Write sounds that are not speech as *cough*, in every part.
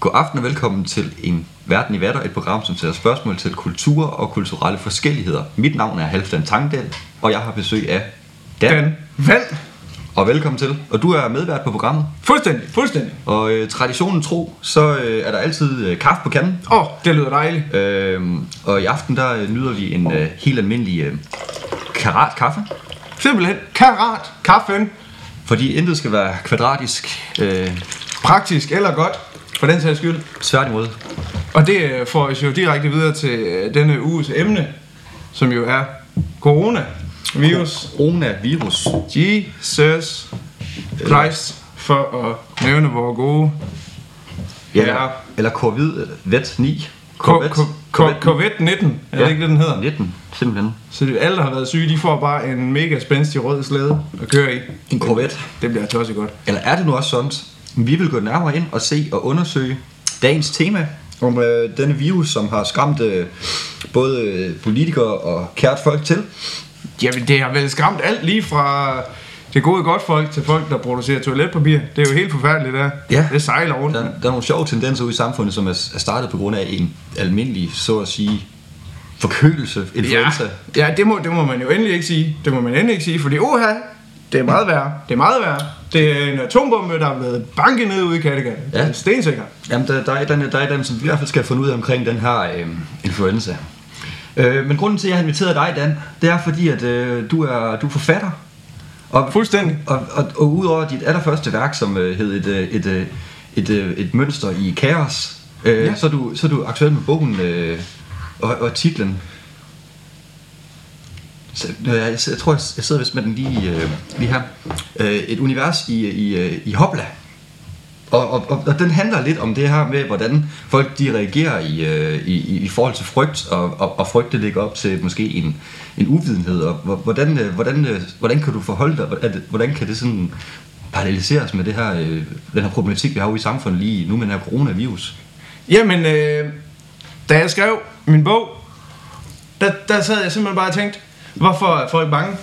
God aften og velkommen til En Verden i Vatter, et program, som sætter spørgsmål til kultur og kulturelle forskelligheder. Mit navn er Halfdan Tangdal, og jeg har besøg af Dan. Dan. Dan Vand. Og velkommen til. Og du er medvært på programmet. Fuldstændig, fuldstændig. Og øh, traditionen tro, så øh, er der altid øh, kaffe på kanden. Åh, oh, det lyder dejligt. Øh, og i aften, der øh, nyder vi en øh, helt almindelig øh, karat kaffe. Simpelthen karat, kaffen, Fordi intet skal være kvadratisk. Øh, praktisk eller godt, for den sags skyld. tværtimod. Og det øh, får os jo direkte videre til øh, denne uges emne, som jo er corona, virus, Coronavirus. Jesus Christ, for at nævne vores gode Ja. Ja. Eller, eller covid, eller vet 9. Corvette- Cor- Corvette Corvette-19, er det Ja. ikke det, den hedder? 19, simpelthen. Så det, alle, der har været syge, de får bare en mega spændstig rød slæde at køre i. En Corvette. Det bliver tosset godt. Eller er det nu også sådan? Vi vil gå nærmere ind og se og undersøge dagens tema om øh, denne virus, som har skræmt øh, både øh, politikere og kært folk til. Jamen, det har vel skræmt alt lige fra det gode godt folk til folk, der producerer toiletpapir. Det er jo helt forfærdeligt, der. Ja. Det sejler rundt. Der, Ja. der er nogle sjove tendenser ude i samfundet, som er, er startet på grund af en almindelig, så at sige, forkølelse, influenza. Ja. ja det, må, det må man jo endelig ikke sige. Det må man endelig ikke sige, fordi oha, det er meget værre. Det er meget værre. Det er en atombombe, der er blevet banket ned ude i Kattegat. Ja. Det Ja. er stensikker. Jamen, der, der, er et eller andet- der er et eller andet, som vi i hvert fald skal have fundet ud af omkring den her øh, influenza. Øh, men grunden til, at jeg har inviteret dig, Dan, det er fordi, at øh, du, er, du er forfatter. Og, Fuldstændig. og, og, og udover dit allerførste værk, som øh, hed et, øh, et, øh, et, øh, et mønster i kaos, øh, ja. Ja. så, er du, så er du aktuel med bogen øh, og, og titlen. Så, øh, jeg, jeg tror, jeg, jeg sidder vist med den lige, øh, lige her. Øh, et univers i, i, øh, i Hopla. Og, og, og, og den handler lidt om det her med, hvordan folk de reagerer i, øh, i, i- i forhold til frygt, og, og, og frygt det ligger op til måske en, en uvidenhed, og hvor- hvordan, øh, hvordan, øh, hvordan kan du forholde dig, hvordan, er det- hvordan kan det sådan paralleliseres med det her, øh, den her problematik, vi har ude i samfundet lige nu med den her coronavirus? Jamen, øh, da jeg skrev min bog, der, der sad jeg simpelthen bare og tænkte, hvorfor er folk bange?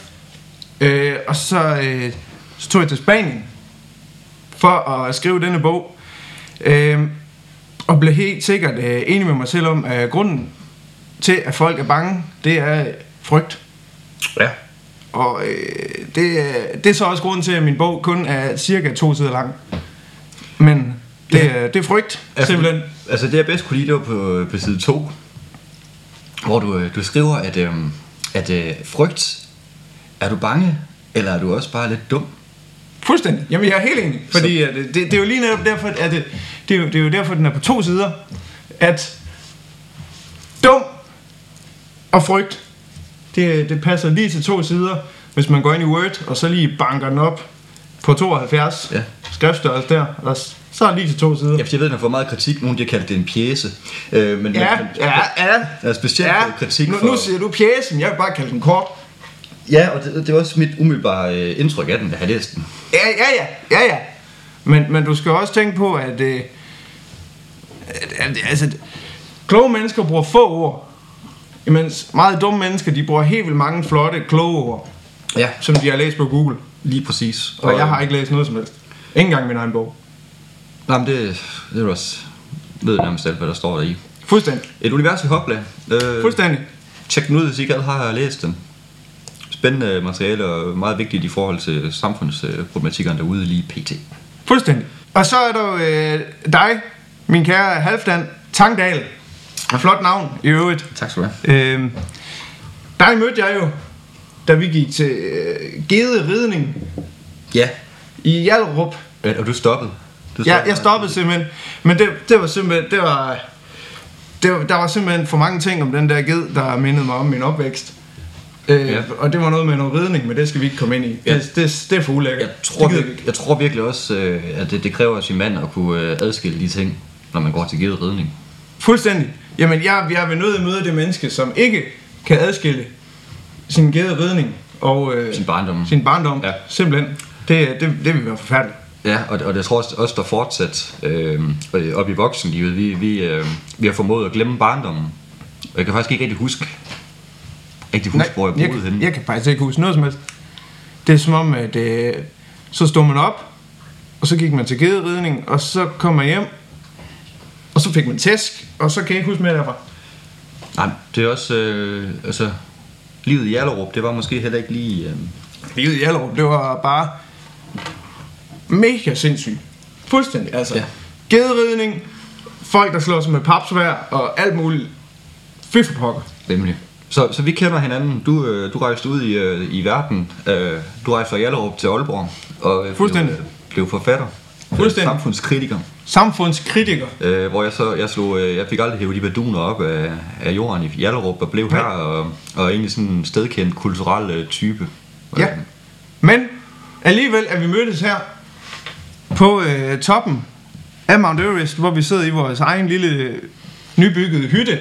Øh, og så, øh, så tog jeg til Spanien for at skrive denne bog. Øh, og blev helt sikkert øh, enig med mig selv om, at grunden til, at folk er bange, det er øh, frygt. Ja. Og øh, det, er- det er så også grunden til, at min bog kun er cirka to sider lang. Men det, Ja. ja. det er frygt, Altså, simpelthen. Altså det jeg bedst kunne lide, det var på, øh, på side 2, hvor du, øh, du skriver, at, øh, at øh, frygt, er du bange, eller er du også bare lidt dum? Fuldstændig. Jamen, jeg er helt enig. Fordi at, øh, det, det, er jo lige netop derfor, at det, det, er jo, det er jo derfor, den er på to sider. At dum og frygt, det, det passer lige til to sider. Hvis man går ind i Word, og så lige banker den op på 72 Ja. ja. skriftstørrelse der, og s- så er det lige til to sider. Ja, fordi jeg ved, at den har fået meget kritik. Nogle de har kaldt det en pjæse. Øh, men Ja, men- ja, ja. Der er specielt ja, kritik nu, for... nu siger du pjæsen, jeg vil bare kalde den kort. Ja, og det, det var også mit umiddelbare øh, indtryk af den, da jeg læste den. Ja, ja, ja, ja, ja. Men, men du skal også tænke på, at, øh, at, at altså, kloge mennesker bruger få ord, imens meget dumme mennesker, de bruger helt vildt mange flotte, kloge ord, Ja, som de har læst på Google. lige præcis. Og jeg har ikke læst noget som helst. Ikke engang min egen bog. Nej, men det, det er du også... ved nærmest alt, hvad der står der i. Fuldstændig. Et univers i Hopla. Øh, Fuldstændig. Tjek den ud, hvis I ikke alle har læst den. Spændende materiale og meget vigtigt i forhold til samfundsproblematikkerne derude lige pt. Fuldstændig. Og så er der jo, øh, dig, min kære Halfdan Tangdal. Et flot navn i øvrigt. Tak skal du have. Øh, dig mødte jeg jo, da vi gik til øh, gederidning Ja, i Hjalrup. Øh, og du stoppede. Du Jeg, jeg stoppede simpelthen, men det, det var simpelthen, det var, det var, der var simpelthen for mange ting om den der ged, der mindede mig om min opvækst. Øh, Ja. ja. Og det var noget med noget ridning, men det skal vi ikke komme ind i. Ja. Ja. Det, det, det er for ulækkert. Jeg tror, det gider vi virkelig, jeg tror virkelig også, øh, at det, det kræver sin mand at kunne øh, adskille de ting, når man går til givet ridning. Fuldstændig. Jamen, jeg, jeg er ved nødt til at møde det menneske, som ikke kan adskille sin gæde ridning og øh, Sin barndom. Sin barndom. Ja. Ja. Simpelthen. Det, det, det vil være forfærdeligt. Ja, og, og jeg tror også, også der fortsat øh, øh, op i voksenlivet, vi, vi, øh, vi har formået at glemme barndommen. Og jeg kan faktisk ikke rigtig huske, rigtig huske hvor jeg jeg, boede henne. jeg kan faktisk ikke huske noget som helst. Det er som om, at øh, så stod man op, og så gik man til gederidning, og så kom man hjem, Og så fik man tæsk, og så kan jeg ikke huske mere derfra. Nej, det er også... Øh, altså, livet i Jallerup, det var måske heller ikke lige... Øh, Livet i Allerup, det var bare mega sindssygt. Fuldstændig, altså. Ja. Ja. Gederidning, folk der slår sig med papsvær og alt muligt. Fy for pokker. nemlig. Så, så vi kender hinanden. Du, øh, du rejste ud i, øh, i verden. Øh, du rejste fra Jallerup til Aalborg. Og øh, Fuldstændig. Blev, blev forfatter. Fuldstændig. Øh, samfundskritiker. Samfundskritiker. Øh, hvor jeg så jeg slog, øh, jeg fik aldrig hævet de baduner op af, af jorden i Jallerup og blev Nej. her og, og egentlig sådan en stedkendt kulturel øh, type. Ja. Øh, Men alligevel er vi mødtes her på øh, toppen af Mount Everest, hvor vi sidder i vores egen lille øh, nybyggede hytte. Ja.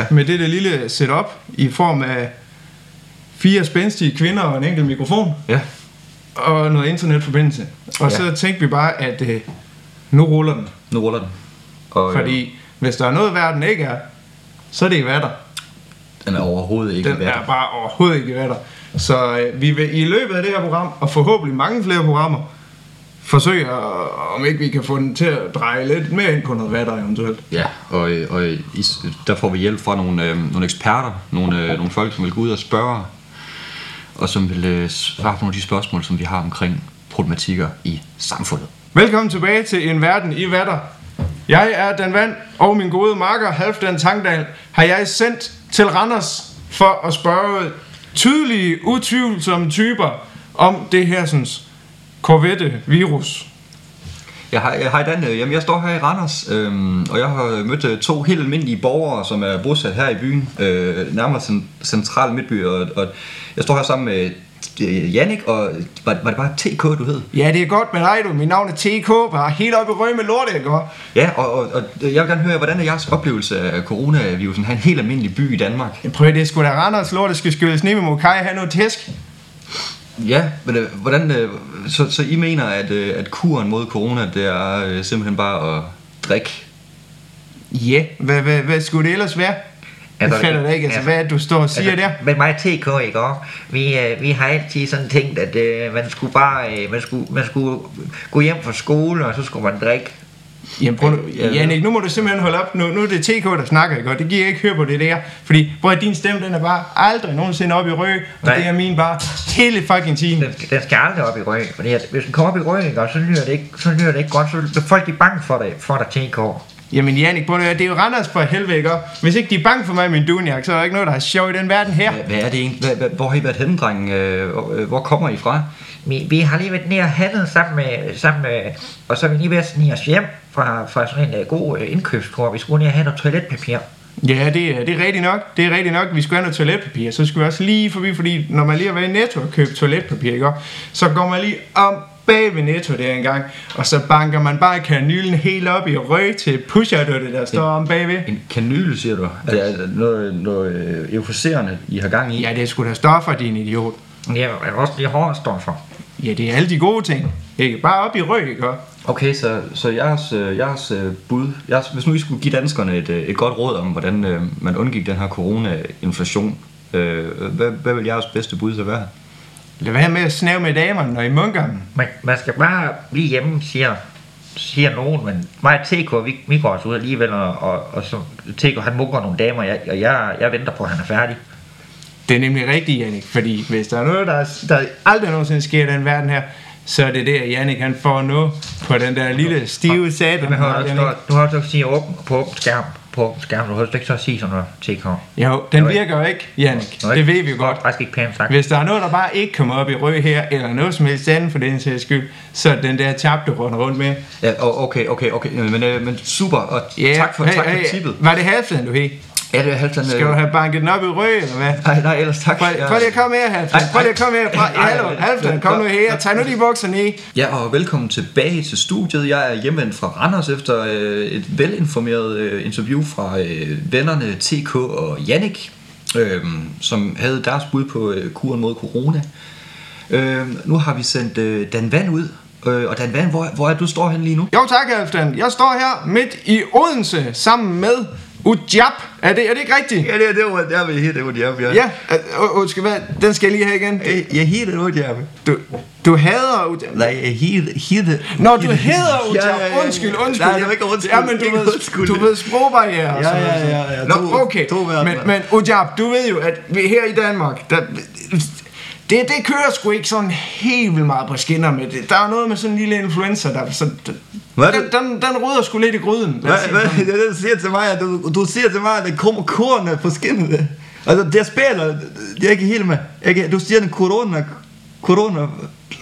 Ja. Med det der lille setup i form af fire spændstige kvinder og en enkelt mikrofon Ja. og noget internetforbindelse. Og Ja. ja. så tænkte vi bare, at øh, nu ruller den. Nu ruller den. Og, øh, Fordi hvis der er noget, verden ikke er, så er det i vatter. den er overhovedet ikke Den værd. er bare overhovedet ikke vatter. Så øh, vi vil i løbet af det her program, og forhåbentlig mange flere programmer, forsøge, at- om ikke vi kan få den til at dreje lidt mere ind på noget vatter eventuelt. Ja, og, øh, og øh, is- der får vi hjælp fra nogle, øh, nogle eksperter, nogle, øh, nogle folk, som vil gå ud og spørge, og som vil øh, svare på nogle af de spørgsmål, som vi har omkring problematikker i samfundet. Velkommen tilbage til En Verden i Vatter. Jeg er Dan Vand, og min gode marker Halfdan Tangdal har jeg sendt til Randers for at spørge tydelige, utvivlsomme typer om det her synes, Corvette-virus. Jeg har, jeg har Dan, øh, jamen jeg står her i Randers, øhm, og jeg har mødt øh, to helt almindelige borgere, som er bosat her i byen, øh, nærmere cen, central midtby, og, og jeg står her sammen med øh, Jannik, og var, var det bare TK, du hed? Ja, det er godt med dig, du. Mit navn er TK, bare helt oppe i røg med lortet, ikke? også? Ja, og, og, og jeg vil gerne høre, hvordan er jeres oplevelse af coronavirusen her i en helt almindelig by i Danmark? Prøv at det skulle da Randers lort, det skal skyldes ned med Mokai, have noget tæsk. Ja, men øh, hvordan, øh, så, så I mener, at, øh, at kuren mod corona, det er øh, simpelthen bare at drikke? Ja, yeah. hvad, hvad, hvad skulle det ellers være? Altså, Altså, det falder da ikke, altså, altså, hvad er det, du står og siger der? Men mig og TK, ikke også? Vi, øh, vi har altid sådan tænkt, at øh, man skulle bare øh, man skulle, man skulle gå hjem fra skole, og så skulle man drikke. Jamen, prøv nu, Ja. Jannik, nu må du simpelthen holde op. Nu, nu er det TK, der snakker, ikke? Og det giver ikke høre på det der. Fordi, prøv at din stemme, den er bare aldrig nogensinde op i røg. Og Nej. det er min bare hele fucking time. Den, den skal aldrig op i røg, fordi at, hvis den kommer op i røg, ikke, også, så lyder det ikke, så lyder det ikke godt, så bliver folk de bange for dig, for dig TK. Jamen, Jannik, prøv nu, det er jo Randers for helvede, ikke? Og Hvis ikke de er bange for mig i min dunjak, så er der ikke noget, der er sjov i den verden her. Hvad, hvad er det egentlig? Hvad, hvad, hvor har I været henne, drenge? Øh, og, øh, Hvor kommer I fra? Vi, vi har lige været nede og handlet sammen med, sammen med, og så er vi lige ved at snige os hjem fra, fra sådan en øh, god øh, indkøbstur. Vi skulle ned og have noget toiletpapir. Ja, det, er- det er rigtigt nok. Det er rigtigt nok. Vi skulle have noget toiletpapir, så skal vi også lige forbi, fordi når man lige har været i Netto og købt toiletpapir, ikke? så går man lige om bag ved Netto der engang, og så banker man bare kanylen helt op i røg til pusher det der står om bagved. En kanyl, siger du? Er det, er det noget, noget øh, euforiserende, I har gang i? Ja, det er sgu da stoffer, din idiot. Ja, og også lige hårstoffer. Ja, det er alle de gode ting. Ikke bare op i røg, ikke? Okay, så, så jeres, øh, jeres øh, bud, jeres, hvis nu I skulle give danskerne et, øh, et godt råd om, hvordan øh, man undgik den her corona-inflation, øh, hvad, hvad vil jeres bedste bud så være? Lad være med at snæve med damerne og i mundgangen. Man, man skal bare blive hjemme, siger, siger nogen, men mig og TK, vi, vi går altså ud alligevel, og, og, og så, TK han mukker nogle damer, og jeg, og jeg, jeg venter på, at han er færdig. Det er nemlig rigtigt, Jannik, fordi hvis der er noget, der, er- der aldrig nogensinde sker i den verden her, så er det der, Jannik han får nu på den der lille stive sat. Men hør, du, står, du Ah, har også at sige åben, på åben skærm, på åben skærm, du har ikke så at sige sådan noget, TK. Jo, den Nå, ikke? virker jo ikke, Jannik. Nå, Det ikke? ved vi jo godt. Det er faktisk ikke pænt sagt. Hvis der er noget, der bare ikke kommer op i røg her, eller noget som helst andet for den sags skyld, så er den der tab, du runder rundt med. Ja, og- okay, okay, okay, øh, men, øh, men super, og Ja, tak for, hey, tak for hey, tippet. Var det halvfladen, du hed? Ja, det er øh, halvt sådan... Skal du have banket den op i røg, eller hvad? Nej, nej, ellers tak. Prøv, prøv lige at komme her, Halvfladen. Ej, Prøv lige ej. at komme her. Prøv, Ej, ej, hallo, ej. Halvfladen, kom nu her. Tag nu de bukserne i. Ja, og velkommen tilbage til studiet. Jeg er hjemvendt fra Randers efter øh, et velinformeret øh, interview fra øh, vennerne TK og Jannik, øh, som havde deres bud på øh, kuren mod corona. Øh, nu har vi sendt øh, Dan Vand ud, øh, og Dan Vand, hvor, hvor er du står han lige nu? Jo tak, Halvdan. Jeg står her midt i Odense sammen med Ujab. Er det, er det ikke rigtigt? Ja, det, det var der, vi helt ud, jeg Ja, øh, øh, øh, skal hvad? den skal jeg lige have igen. Jeg helt ud, jeg Du, du hader Ujab. Nej, jeg helt, helt... Nå, du hedder Ujab. Ja, ja, ja. Undskyld, undskyld. Nej, det var ikke undskyld. Ja, men du Ikke ved, undskyld. du ved sprogbarriere. og Ja, sådan noget. ja, ja, ja. To- Nå, okay. to hver. men, men Ujab, du ved jo, at vi her i Danmark, der, det, det kører sgu ikke sådan helt vildt meget på skinner med det. Der er jo noget med sådan en lille influencer, der... Så, Hvad er den, det? den, den rydder sgu lidt i gryden. lad os Hvad, sige. hvad, det er det, du siger til mig, at du, du siger til mig, at det kommer kornet på skinnet. Altså, det spiller, jeg er ikke helt med. Jeg kan, du siger den corona, corona.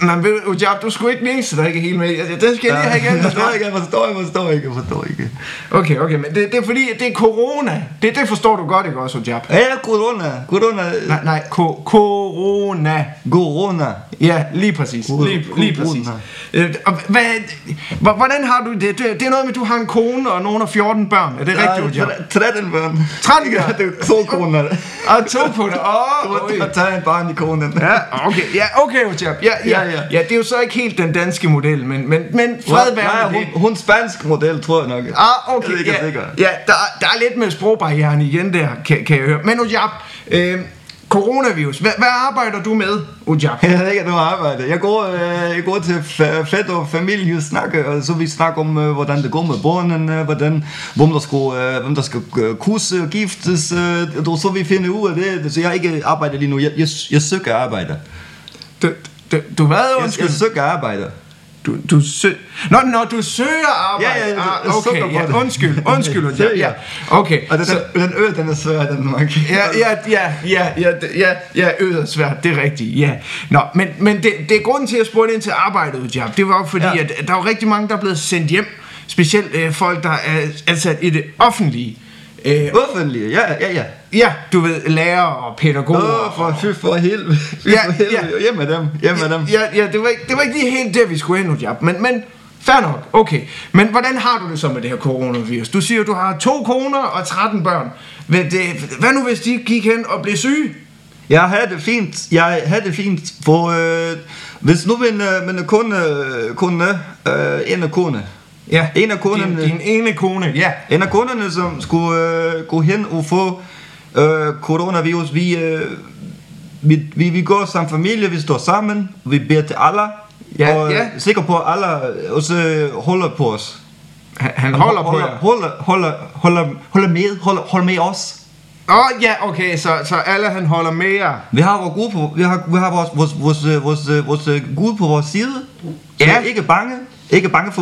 Men ved du, Ujab, du skulle ikke den eneste, der ikke er helt med. Altså, Det skal jeg lige have igen. Jeg forstår ikke, jeg forstår ikke, jeg forstår ikke, jeg forstår ikke. Okay, okay, men det, det er fordi, at det er corona. Det, det forstår du godt, ikke også, Ujab? Ja, corona, corona, Nej, nej, ko- corona. corona. Ja, lige præcis. Corona. Lige, lige præcis. Øh, og hvad, hva- hvordan har du det? det? Det er noget med, at du har en kone og nogen af 14 børn. Er det rigtigt, Ujab? 13 børn. 13 Ja, børn? det er to kroner. Og to på det. Åh, oh, Du har taget en barn i kronen. Ja, okay, ja, okay, Ujab. Ja, ja, Ja, ja, ja. ja. det er jo så ikke helt den danske model, men, men, men fred være Nej, med det. hun, hun spansk model, tror jeg nok. Ah, Jeg okay. er ikke ja, sikker. ja der, der er lidt med sprogbarrieren igen der, kan, kan jeg høre. Men Ujab, øh, coronavirus, hvad, hvad arbejder du med, Ujab? Jeg ved ikke, at du har arbejde. Jeg går, øh, jeg går til fa- fætter og familie snakke, og så vi snakker om, øh, hvordan det går med børnene, hvordan, hvem der skal, øh, hvem der skal øh, kusse og giftes, øh, og så vi finder ud af det. Så jeg ikke arbejder lige nu. Jeg, jeg, jeg søger arbejde. Du, du, du hvad, Jeg, undskyld? jeg søger arbejde. Du, du sø... Nå, når du søger arbejde. Ja, ja, jeg ah, sukker okay, på det. ja, undskyld, *laughs* undskyld, Ujab. Ja, okay. Og den, så- den, den ø, den er svær, den nok. Ja, ja, ja, ja, ja, d- ja, ja, yderst svært, det er rigtigt, ja. Nå, men, men det, det er grunden til, at jeg spurgte ind til arbejdet, Jab. Det var jo fordi, Ja. ja. at der er jo rigtig mange, der er blevet sendt hjem. Specielt øh, folk, der er ansat i det offentlige. Øh, *laughs* Offentlig, ja, ja, ja. ja, du ved, lærer og pædagoger. Åh, for fy for helvede. Fy Ja, for helvede. ja. Hjem med dem, hjem med dem. ja, ja det, var ikke, det var ikke lige helt der, vi skulle hen nu, Jab. Men, men fair nok, okay. Men hvordan har du det så med det her coronavirus? Du siger, du har to koner og 13 børn. Hvad, det, hvad nu, hvis de gik hen og blev syge? Jeg havde det fint. Jeg havde det fint. For øh, hvis nu min, øh, min kone, kone øh, en af kone, Ja, En af konerne. Din, din ene kone, ja. en af kunderne, som skulle øh, gå hen og få øh, coronavirus, vi, øh, vi, vi, vi går som familie, vi står sammen, vi beder til alle, Ja, og ja. er sikker på, at alle også øh, holder på os. Han, han holder på holder, jer. holder, holder, holder, holder med, holder, holder med os. Åh, oh, ja, okay, så, så alle han holder med jer. Vi har vores Gud på, vi har, vi har vores, vores, vores, øh, vores, øh, vores øh, Gud på vores side. Så Ja. ja. ikke bange. Ikke bange for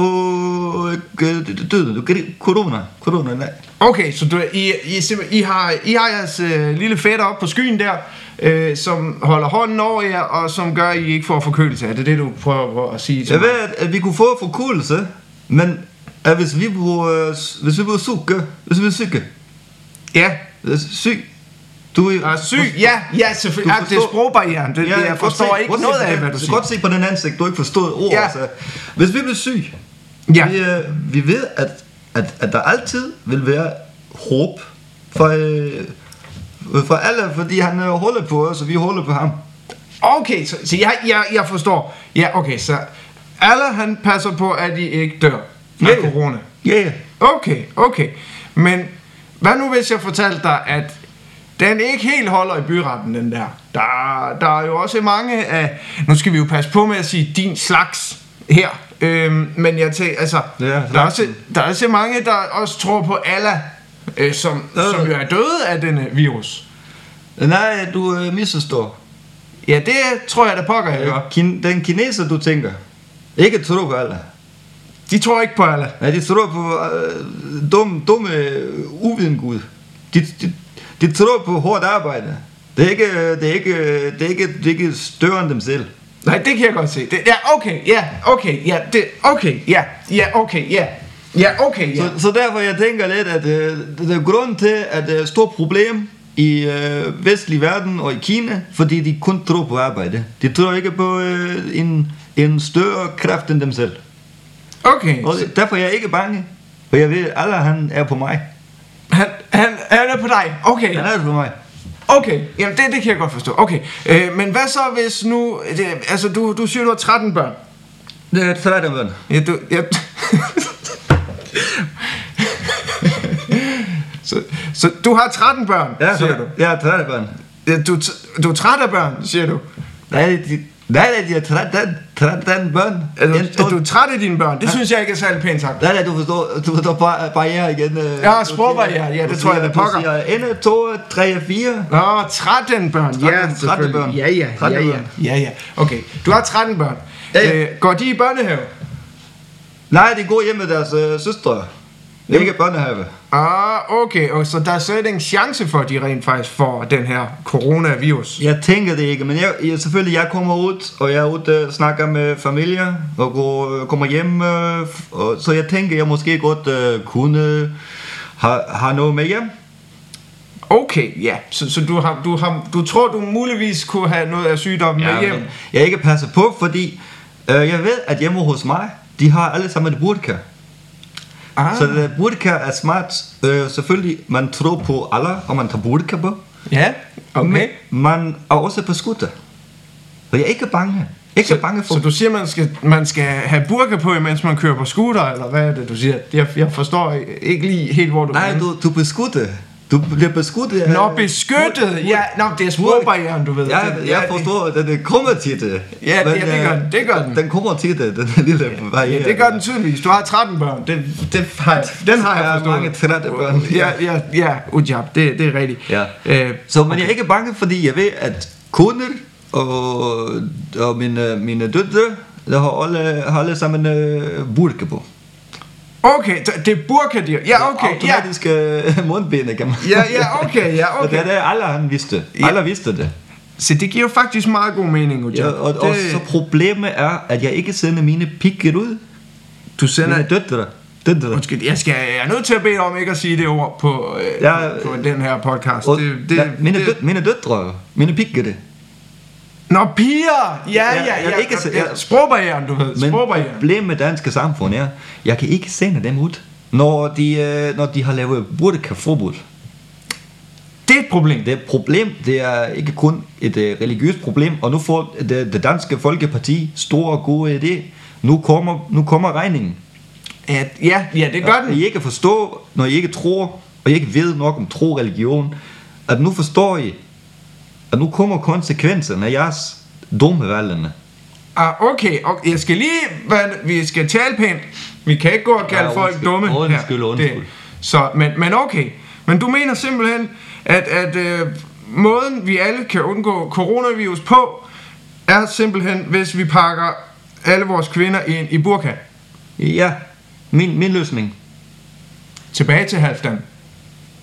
øh, døden. Corona. Corona, nej. Okay, så du, I, I, simp- I, har, I har jeres øh, lille fætter op på skyen der, øh, som holder hånden over jer, og som gør, at I ikke får forkølelse. Er det det, du prøver på at sige til Jeg mig? ved, at, at vi kunne få forkullelse, men at hvis vi blev, øh, hvis vi blev syge, hvis vi blev syge, Ja, øh, syg, du er og Ah, syg. Ja, ja, selvfølgelig. Du Ja, det er forstår- sprogbarrieren. Det, ja, jeg kan forstår godt se- ikke godt se noget på af, den- hvad du kan godt siger. se på den ansigt, du har ikke forstået ord. Ja. Ja. Altså. Hvis vi bliver syge, Ja. vi, øh, vi ved, at, at, at der altid vil være håb for, øh, for alle, fordi han øh, holder på os, og vi holder på ham. Okay, så, så jeg, jeg, jeg forstår. Ja, okay, så alle han passer på, at I ikke dør af Ja, ja. corona. Ja, yeah. Okay, okay. Men hvad nu hvis jeg fortalte dig, at den ikke helt holder i byretten, den der? Der, der er jo også mange af... Nu skal vi jo passe på med at sige din slags her. Øhm, men jeg tænker, altså... Ja, der, er også, der er også mange, der også tror på Allah, øh, som, Ja. som jo er døde af denne virus. Nej, du øh, misforstår. Ja, det tror jeg, der pokker jeg gør. Øh, Kin- den kineser, du tænker, ikke tror på alle. De tror ikke på Allah. Nej, de tror på øh, dumme, dumme øh, uviden Gud. De, de, de tror på hårdt arbejde. Det er ikke, øh, det er ikke, øh, det er ikke, det er ikke større end dem selv. Nej, det kan jeg godt se. Det, ja, okay, ja, okay, ja, det, okay, ja, ja, okay, ja, ja, okay, ja. Så, så derfor jeg tænker lidt, at øh, det er grund til, at det er et stort problem i øh, vestlig verden og i Kina, fordi de kun tror på arbejde. De tror ikke på øh, en, en større kraft end dem selv. Okay, Og derfor er jeg ikke bange, for jeg ved, at Allah han er på mig. Han, han, han er på dig. Okay. Han er på mig. Okay. Jamen, det, det kan jeg godt forstå. Okay. Øh, men hvad så, hvis nu... Det, altså, du, du siger, du har 13 børn. Det er træt af mig. Ja, du... Ja. *laughs* Så, så du har 13 børn, Ja, siger du. Jeg er træt af børn. Ja, Du, er t- du er træt af børn, siger du. Nej, de, nej, nej, de er træt af, træt af børn. Er du, En Altså, er stor- du træt af dine børn? Det synes jeg ikke er særlig pænt sagt. Nej, nej, du forstår, du forstår bar- barriere igen. øh, Ja, du sprogbarriere, siger- ja, det du tror jeg, siger- det pokker. Du siger 1, 2, 3, 4. Nå, 13 børn. Tretten- Ja, tretten selvfølgelig. børn. Ja, ja, ja, Tretten ja. børn. Ja, ja. Okay, du har 13 børn. Ja, ja. Øh, går de i børnehave? Nej, de går hjem med deres øh, søstre. Det er ikke børnehave. Ah, okay. Og så der er slet ikke en chance for, at de rent faktisk får den her coronavirus. Jeg tænker det ikke, men jeg, jeg, selvfølgelig, jeg kommer ud, og jeg er ude og snakker med familier, og går, kommer hjem, øh, f- og, så jeg tænker, jeg måske godt øh, kunne have ha noget med hjem. Okay, ja. Så, så du, har, du, har, du tror, du muligvis kunne have noget af sygdommen med hjem? men Jeg ikke passer på, fordi øh, jeg ved, at hjemme hos mig, de har alle sammen et burka. Ah, Så det burka er smart. Øh, selvfølgelig, man tror på alle, og man tager burka på. ja. Okay. Men man er også beskyttet. Og jeg er ikke bange. Ikke så, bange for... Så du siger, man skal, man skal have burka på, mens man kører på scooter, eller hvad er det, du siger? Jeg, jeg forstår ikke lige helt, hvor du er Nej, henne. du, du er beskyttet. Du bliver beskyttet af... Nå, beskyttet! Ja, nå, det er sprogbarrieren, du ved. Jeg, Den- jeg forstår, at den kommer til det. Ja, det- ja, det gør øh, den, det gør den. Den kommer til det, den lille barriere. Ja, det gør den tydeligvis. Du har 13 børn. Det, det har, den har Der jeg er forstået. mange 13 børn. Ja, ja, ja. Ujab, det, det er rigtigt. Ja. Øh, Så men jeg er ikke bange, fordi jeg ved, at kunder og, og mine, mine døtre, der har alle, har alle sammen øh, burke på. okay, så det er burkadyr. Ja, okay. Ja, Automatiske ja. mundbinde, kan man ja, ja, okay, *laughs* ja, Og det er okay. det, alle han vidste. Ja. Alle vidste det. Så det giver jo faktisk meget god mening, Ujab. Ja, og, og det, så problemet er, at jeg ikke sender mine pikker ud. du sender... Mine døtre. Døtre. Undskyld, jeg, skal, jeg er nødt til at bede dig om ikke at sige det ord på, øh, Ja, på, på den her podcast. Og, det, det, ja, mine, det, død, mine døtre, mine pikker det. Nå, piger! Ja, ja, Ja, ja. jeg ja, kan ikke se- ja. jeg- Sprogbarrieren, du ved. Men Sprogbarrieren. problemet med danske samfund er, jeg kan ikke sende dem ud, når de, øh, når de har lavet burka-forbud. Det er et problem. Det er et problem, det er ikke kun et øh, religiøst problem, og nu får det, det danske folkeparti store gode idé. Nu kommer, nu kommer regningen. Ja, ja, ja, det gør den. Når I ikke forstår, når I ikke tror, og I ikke ved nok om tro og religion, at nu forstår I, at nu kommer konsekvenserne af jeres dumme valgene. Ah, okay, og jeg skal lige, hvad, vi skal tale pænt. Vi kan ikke gå og kalde Ja, folk undskyld. dumme. her. Undskyld, undskyld. Det- Så, men, men okay, men du mener simpelthen, at, at øh, måden vi alle kan undgå coronavirus på, er simpelthen, hvis vi pakker alle vores kvinder ind i burka. Ja, min, min løsning. Tilbage til halvdan.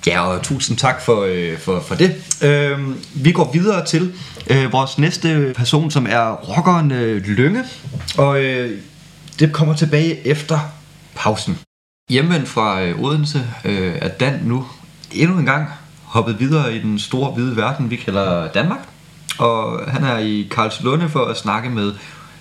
Ja, og tusind tak for, øh, for, for det. Øhm, vi går videre til øh, vores næste person, som er rockeren øh, Lønge. Og øh, det kommer tilbage efter pausen. Hjemvendt fra øh, Odense øh, er Dan nu endnu en gang hoppet videre i den store hvide verden, vi kalder Danmark. Og han er i Karlslunde for at snakke med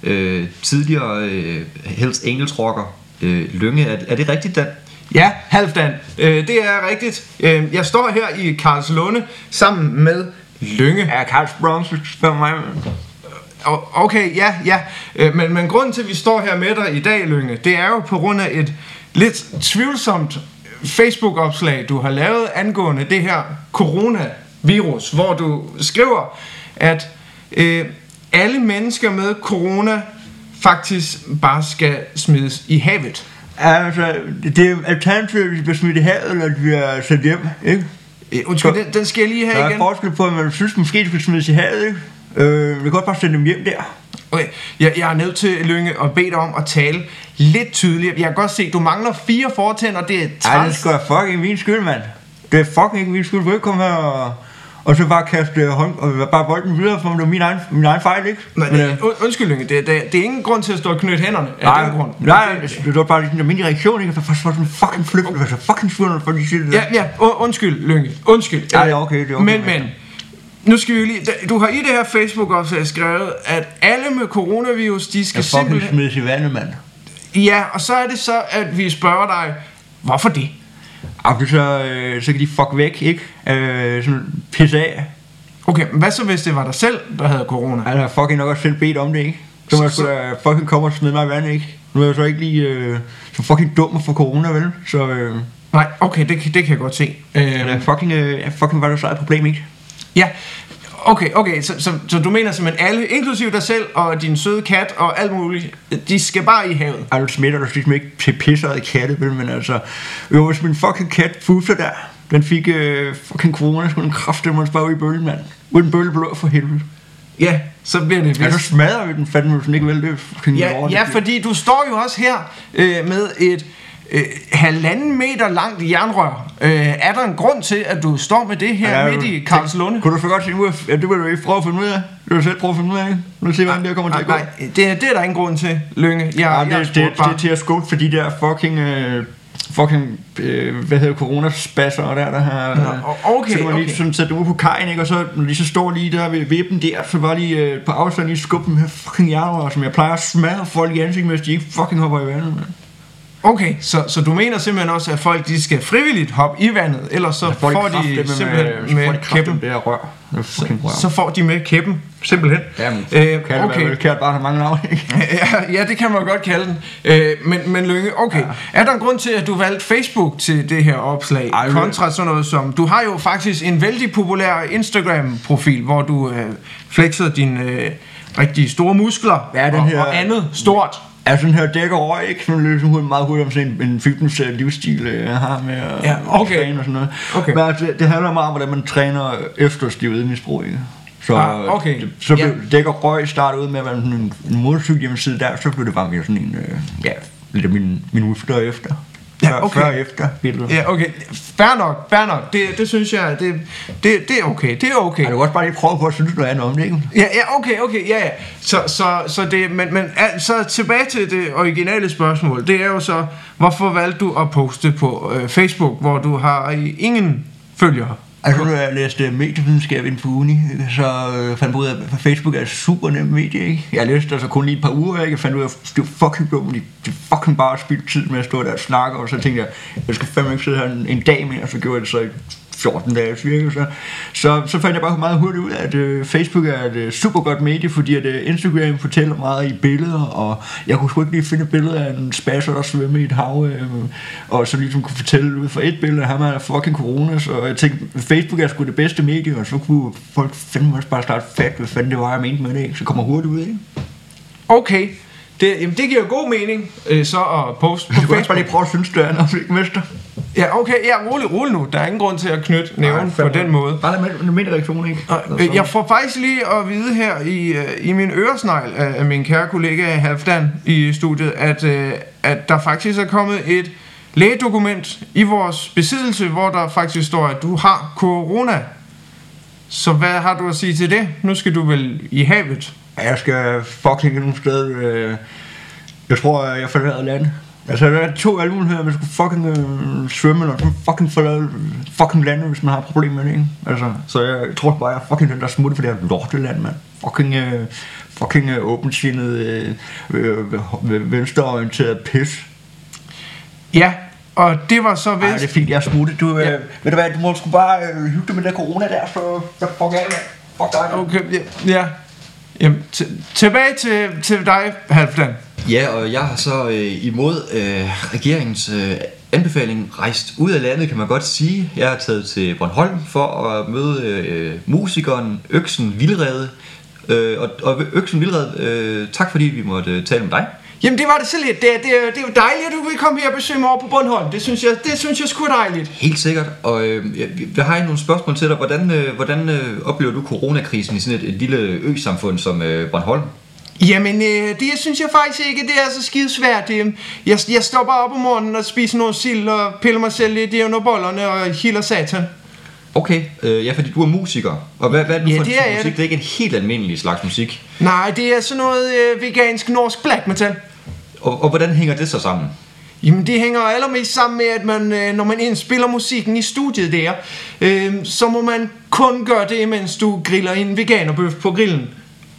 øh, tidligere øh, Hells Angels rocker øh, Lønge. Er, er det rigtigt, Dan? Ja, halvdan. Øh, det er rigtigt. Øh, jeg står her i Karlslunde sammen med Lønge. Ja, Karlsbronze for mig. O- Okay, ja, ja. Øh, Men, men grunden til, at vi står her med dig i dag, Lønge, det er jo på grund af et lidt tvivlsomt Facebook-opslag, du har lavet angående det her coronavirus, hvor du skriver, at øh, alle mennesker med corona faktisk bare skal smides i havet. Altså, det er alternativet, at vi bliver smidt i havet, eller at vi bliver sendt hjem, ikke? Øh, Undskyld, den, den skal jeg lige Der have er igen. forskel på, at man synes, måske de skal smides i havet, ikke? Øh, vi kan godt bare sende dem hjem der. Okay, jeg, jeg er nødt til, Lønge, at bede dig om at tale lidt tydeligere. Jeg kan godt se, du mangler fire fortænder, det er Ej, det træls. skal være fucking min skyld, mand. Det er fucking ikke min skyld. Du kan ikke komme her og, og så bare kaste øh, hånd, og bare bolden videre, for det er min egen, min egen fejl, ikke? Men, øh, und- undskyld, Lønge, det, det, det er ingen grund til at stå og knytte hænderne af Nej, den grund. nej, altså, det, det var bare sådan en almindelig reaktion, ikke? Jeg var sådan fucking flygtet, jeg var så fucking svundet, for de siger det der. Ja, ja, u- undskyld, Lønge, undskyld. Ja, det er okay, det er okay. Men, men, nu skal vi lige, du har i det her Facebook-opslag skrevet, at alle med coronavirus, de skal Jeg fucking simpelthen... smides i vandet, mand. Ja, og så er det så, at vi spørger dig, hvorfor det? Og så, øh, så kan de fuck væk, ikke? Øh, sådan pisse af. Okay, men hvad så hvis det var dig selv, der havde corona? Han har fucking nok også selv bedt om det, ikke? Så må jeg sgu da fucking komme og smide mig i vandet, ikke? Nu er jeg så ikke lige øh, så fucking dum for corona, vel? Så øh, Nej, okay, det, kan- det kan jeg godt se. ja. Øh, fucking, øh, ja, fucking var der så et problem, ikke? ja, okay, okay, så, så, så du mener simpelthen alle, inklusive dig selv og din søde kat og alt muligt, de skal bare i havet? Ej, du smitter dig ligesom ikke til pisseret i katte, vel? Men altså, jo, hvis min fucking kat Fufler der, den fik øh, fucking corona, så kunne den kraftedeme man bare ud i bølgen, mand. Uden bølle blå for helvede. Ja, så bliver det Ja, vist. så smadrer vi den fandme, hvis den ikke vil det. er Fucking Ja, lort. ja, fordi du står jo også her øh, med et øh, halvanden meter langt jernrør. Øh, er der en grund til, at du står med det her ja, midt i Karlslunde? Kunne du så godt se ud af, ja, det vil du ikke prøve at finde ud af. Det vil du selv prøve at finde ud af, ikke? Nu se, hvordan det her kommer til Nej, at gå. nej, det, er- det er der ingen grund til, Lønge. Jeg, Ja, jeg det, det, spurgte det, bare. er til at skubbe for de der fucking... Øh, fucking, øh, hvad hedder coronaspasser og der, der har... Nå, okay, så kan man lige okay. sådan sætte dem ud på kajen, ikke? Og så når de så står lige der ved vippen der, så bare lige øh, på afstand lige skubbe dem her fucking jernrør, som jeg plejer at smadre folk i ansigtet, hvis de ikke fucking hopper i vandet, mand. Okay, så, så du mener simpelthen også, at folk de skal frivilligt hoppe i vandet, ellers så Så får de, kraftedeme simpelthen så med, får med de kæppen. kæppen. Det der rør. Det er fucking rør. Så får de med kæppen, simpelthen. Jamen, øh, kan det okay. være velkært bare have mange navne, ikke? *laughs* Ja, ja, det kan man godt kalde den. Øh, men, men Lønge, okay. Ja. Er der en grund til, at du valgte Facebook til det her opslag? Ej, Ej, men- kontra sådan noget som... Du har jo faktisk en vældig populær Instagram-profil, hvor du øh, flexer dine øh, rigtig store muskler Ja, den og, her- og andet stort. Er sådan her dækker over ikke sådan lidt hurtigt, meget hurtigt om sådan en, en fitness øh, livsstil øh, jeg har med at Ja, okay. træne og sådan noget. Okay. Men altså, det, det handler meget om, hvordan man træner efter stivet misbrug, ikke? Så, Ah, okay. det, så blev Ja. dækker røg startet ud med at være sådan en, en motorcykel hjemmeside der, så blev det bare mere sådan en, øh, ja, lidt af min, min ufter efter. Ja, Før- okay. Før og efter billeder. Ja. Ja, okay. Fair nok, fair nok. Det, det synes jeg, det, det, det er okay. Det er okay. Jeg kan godt bare lige prøve på at synes noget andet om det, ikke? Ja, ja, okay, okay, ja, ja. Så, så, så det, men, men al- så tilbage til det originale spørgsmål. Det er jo så, hvorfor valgte du at poste på øh, Facebook, hvor du har øh, ingen følgere? Altså, nu har jeg læst øh, medievidenskab inden for uni, ikke? så øh, fandt jeg ud af, at Facebook er et super nemt medie, ikke? Jeg læste altså kun lige et par uger, ikke? Jeg fandt ud af, at det var fucking dumt, de, de fucking bare spildte tid med at stå der og snakke, og så tænkte jeg, jeg skal fandme ikke sidde her en, en dag mere, og så gjorde jeg det så i 14 dage, cirka, så, så, så fandt jeg bare meget hurtigt ud af, at øh, Facebook er et øh, super godt medie, fordi at øh, Instagram fortæller meget i billeder, og jeg kunne sgu ikke lige finde et billede af en spasser, der svømmer i et hav, øh, og så ligesom kunne fortælle ud fra et billede, at ham er fucking corona, så jeg tænkte, Facebook er sgu det bedste medie, og så kunne folk fandme også bare starte fat, hvad fanden det var, jeg mente med det, ikke? så kommer hurtigt ud, ikke? Okay, det, jamen, det giver jo god mening øh, så at poste på Du kan også Facebook. bare lige prøve at synes, det er noget, ikke, mester? Ja, okay, ja, rolig, rolig nu. Der er ingen grund til at knytte næven på fandme. den måde. Bare lad med, med reaktion, ikke? Og, øh, Jeg får faktisk lige at vide her i, øh, i min øresnegl af af min kære kollega Halfdan i studiet, at, øh, at der faktisk er kommet et lægedokument i vores besiddelse, hvor der faktisk står, at du har corona. Så hvad har du at sige til det? Nu skal du vel i havet. Jeg skal fucking nogle sted. Øh, jeg tror, jeg forlader land. Altså, der er to valgmuligheder. Man skulle fucking øh, svømme, eller sådan fucking forlade fucking landet, hvis man har problemer med det, ikke? Altså, så jeg tror bare, jeg er fucking den, der smutter for det her lorteland, mand. Fucking, øh, fucking øh, åbensindet, øh, øh, øh, venstreorienteret pis. Ja, og det var så Ej, det er vist... fint, jeg er smuttet. Du, øh, Ja. ved du hvad, du må sgu bare øh, hygge dig med den der corona der, så så fuck af, mand. Fuck dig, mand. Okay, ja. ja. Jamen, t- tilbage til, til dig, Halfdan. Ja, og jeg har så øh, imod øh, regeringens øh, anbefaling rejst ud af landet, kan man godt sige. Jeg er taget til Bornholm for at møde øh, musikeren Øksen Vildrede. Øh, og, og Øksen Vildrede, øh, tak fordi vi måtte øh, tale med dig. Jamen det var det så lidt. Det, er- det, er- det er jo dejligt, at du vil komme her og besøge mig over på Bornholm. Det synes jeg, det synes jeg sgu er dejligt. Helt sikkert, og øh, jeg, jeg har egentlig nogle spørgsmål til dig. Hvordan, øh, hvordan øh, oplever du coronakrisen i sådan et, et lille ø-samfund som øh, Bornholm? Jamen, øh, det synes jeg faktisk ikke, det er så skide svært. Det, jeg, jeg stopper op om morgenen og spiser noget sild og piller mig selv lidt i under bollerne og hilder satan. Okay, øh, ja, fordi du er musiker. Og hvad, hvad er det nu Ja, for en det type er jeg musik? da. Det er ikke en helt almindelig slags musik. Nej, det er sådan noget øh, vegansk norsk black metal. Og, og hvordan hænger det så sammen? Jamen det hænger allermest sammen med, at man, øh, når man indspiller musikken i studiet der, øh, så må man kun gøre det, mens du griller en veganerbøf på grillen.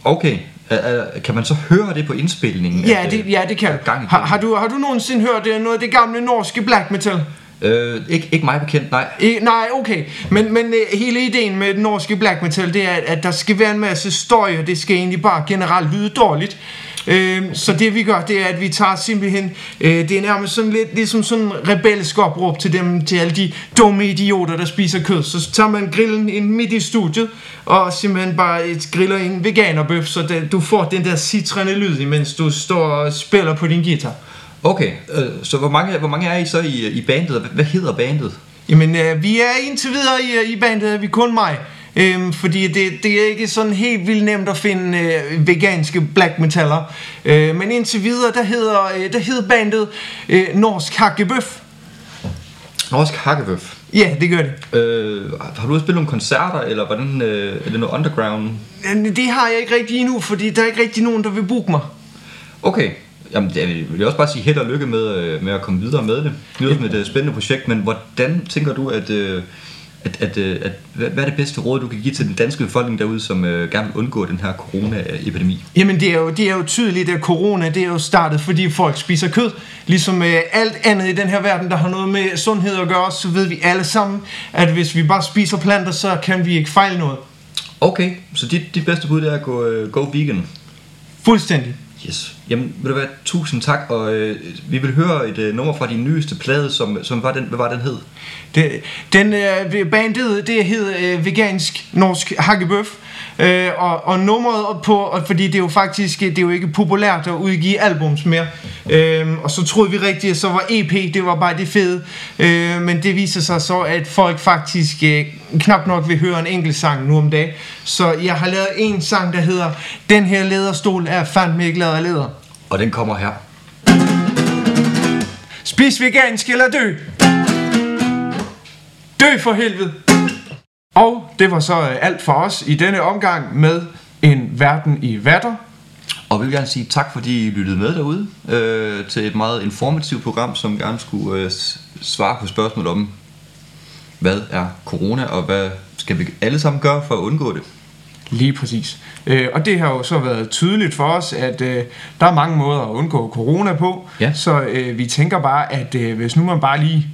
Okay, er, er, kan man så høre det på indspilningen? Ja, at, øh, det, ja, det kan at gang i har, har, du, har du nogensinde hørt øh, noget af det gamle norske black metal? Øh, ikke, ikke mig bekendt, nej. I, nej, okay. Men, men øh, hele ideen med den norske black metal, det er, at, at der skal være en masse støj, og det skal egentlig bare generelt lyde dårligt. Øhm, så det vi gør, det er, at vi tager simpelthen, øh, det er nærmest sådan lidt ligesom sådan en rebelsk opråb til dem, til alle de dumme idioter, der spiser kød. Så tager man grillen ind midt i studiet, og simpelthen bare et, griller en veganerbøf, så det, du får den der citrende lyd, imens du står og spiller på din guitar. Okay, øh, så hvor mange, hvor mange er I så i, i bandet? og Hvad hedder bandet? Jamen, øh, vi er indtil videre i, i bandet, er vi kun mig. Øhm, fordi det, det er ikke sådan helt vildt nemt at finde øh, veganske black metaller. Øh, men indtil videre, der hedder, øh, der hedder bandet øh, Norsk Hakkebøf. Norsk Hakkebøf. Ja, det gør det. Øh, har du også spillet nogle koncerter, eller hvordan, øh, er det noget underground? Øh, Det har jeg ikke rigtig endnu, fordi der er ikke rigtig nogen, der vil booke mig. Okay, Jamen, det er- vil jeg også bare sige held og lykke med, øh, med at komme videre med det. Nu er det et spændende projekt, men hvordan tænker du, at, øh, at, at, øh, at hvad hvad er det bedste råd, du kan give til den danske befolkning derude, som øh, gerne vil undgå den her corona-epidemi? Jamen det er, jo, det er jo tydeligt, at corona det er jo startet, fordi folk spiser kød. Ligesom øh, alt andet i den her verden, der har noget med sundhed at gøre, så ved vi alle sammen, at hvis vi bare spiser planter, så kan vi ikke fejle noget. Okay, så dit, dit bedste bud det er at gå, øh, go vegan. Fuldstændig. Yes. Jamen, vil du være tusind tak, og øh, vi vil høre et øh, nummer fra din nyeste plade, som, som var den, hvad var den hed? Det, den øh, bandet, det hedder øh, Vegansk Norsk Hakkebøf. Øh, og, og nummeret op på, og fordi det er jo faktisk øh, det er jo ikke populært at udgive albums mere. Øh, og så troede vi rigtigt, at så var EP, det var bare det fede. Øh, men det viser sig så, at folk faktisk øh, knap nok vil høre en enkelt sang nu om dagen. Så jeg har lavet en sang, der hedder Den her læderstol er fandme ikke lavet af læder. Og den kommer her. Spis vegansk eller dø! Dø for helvede! Og det var så øh, alt for os i denne omgang med en verden i vatter. Og vi vil gerne sige tak, fordi I lyttede med derude øh, til et meget informativt program, som gerne skulle øh, s- svare på spørgsmål om, hvad er corona, og hvad skal vi alle sammen gøre for at undgå det? Lige præcis. Øh, og det har jo så været tydeligt for os, at øh, der er mange måder at undgå corona på. Ja. Så øh, vi tænker bare, at øh, hvis nu man bare lige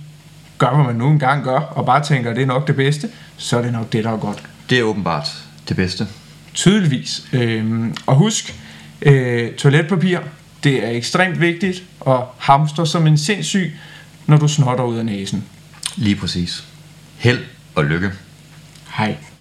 gør, hvad man nu engang gør, og bare tænker, at det er nok det bedste, så er det nok det, der er godt. Det er åbenbart det bedste. Tydeligvis. Øhm, og husk, øh, toiletpapir, det er ekstremt vigtigt, og hamster som en sindssyg, når du snotter ud af næsen. Lige præcis. Held og lykke. Hej.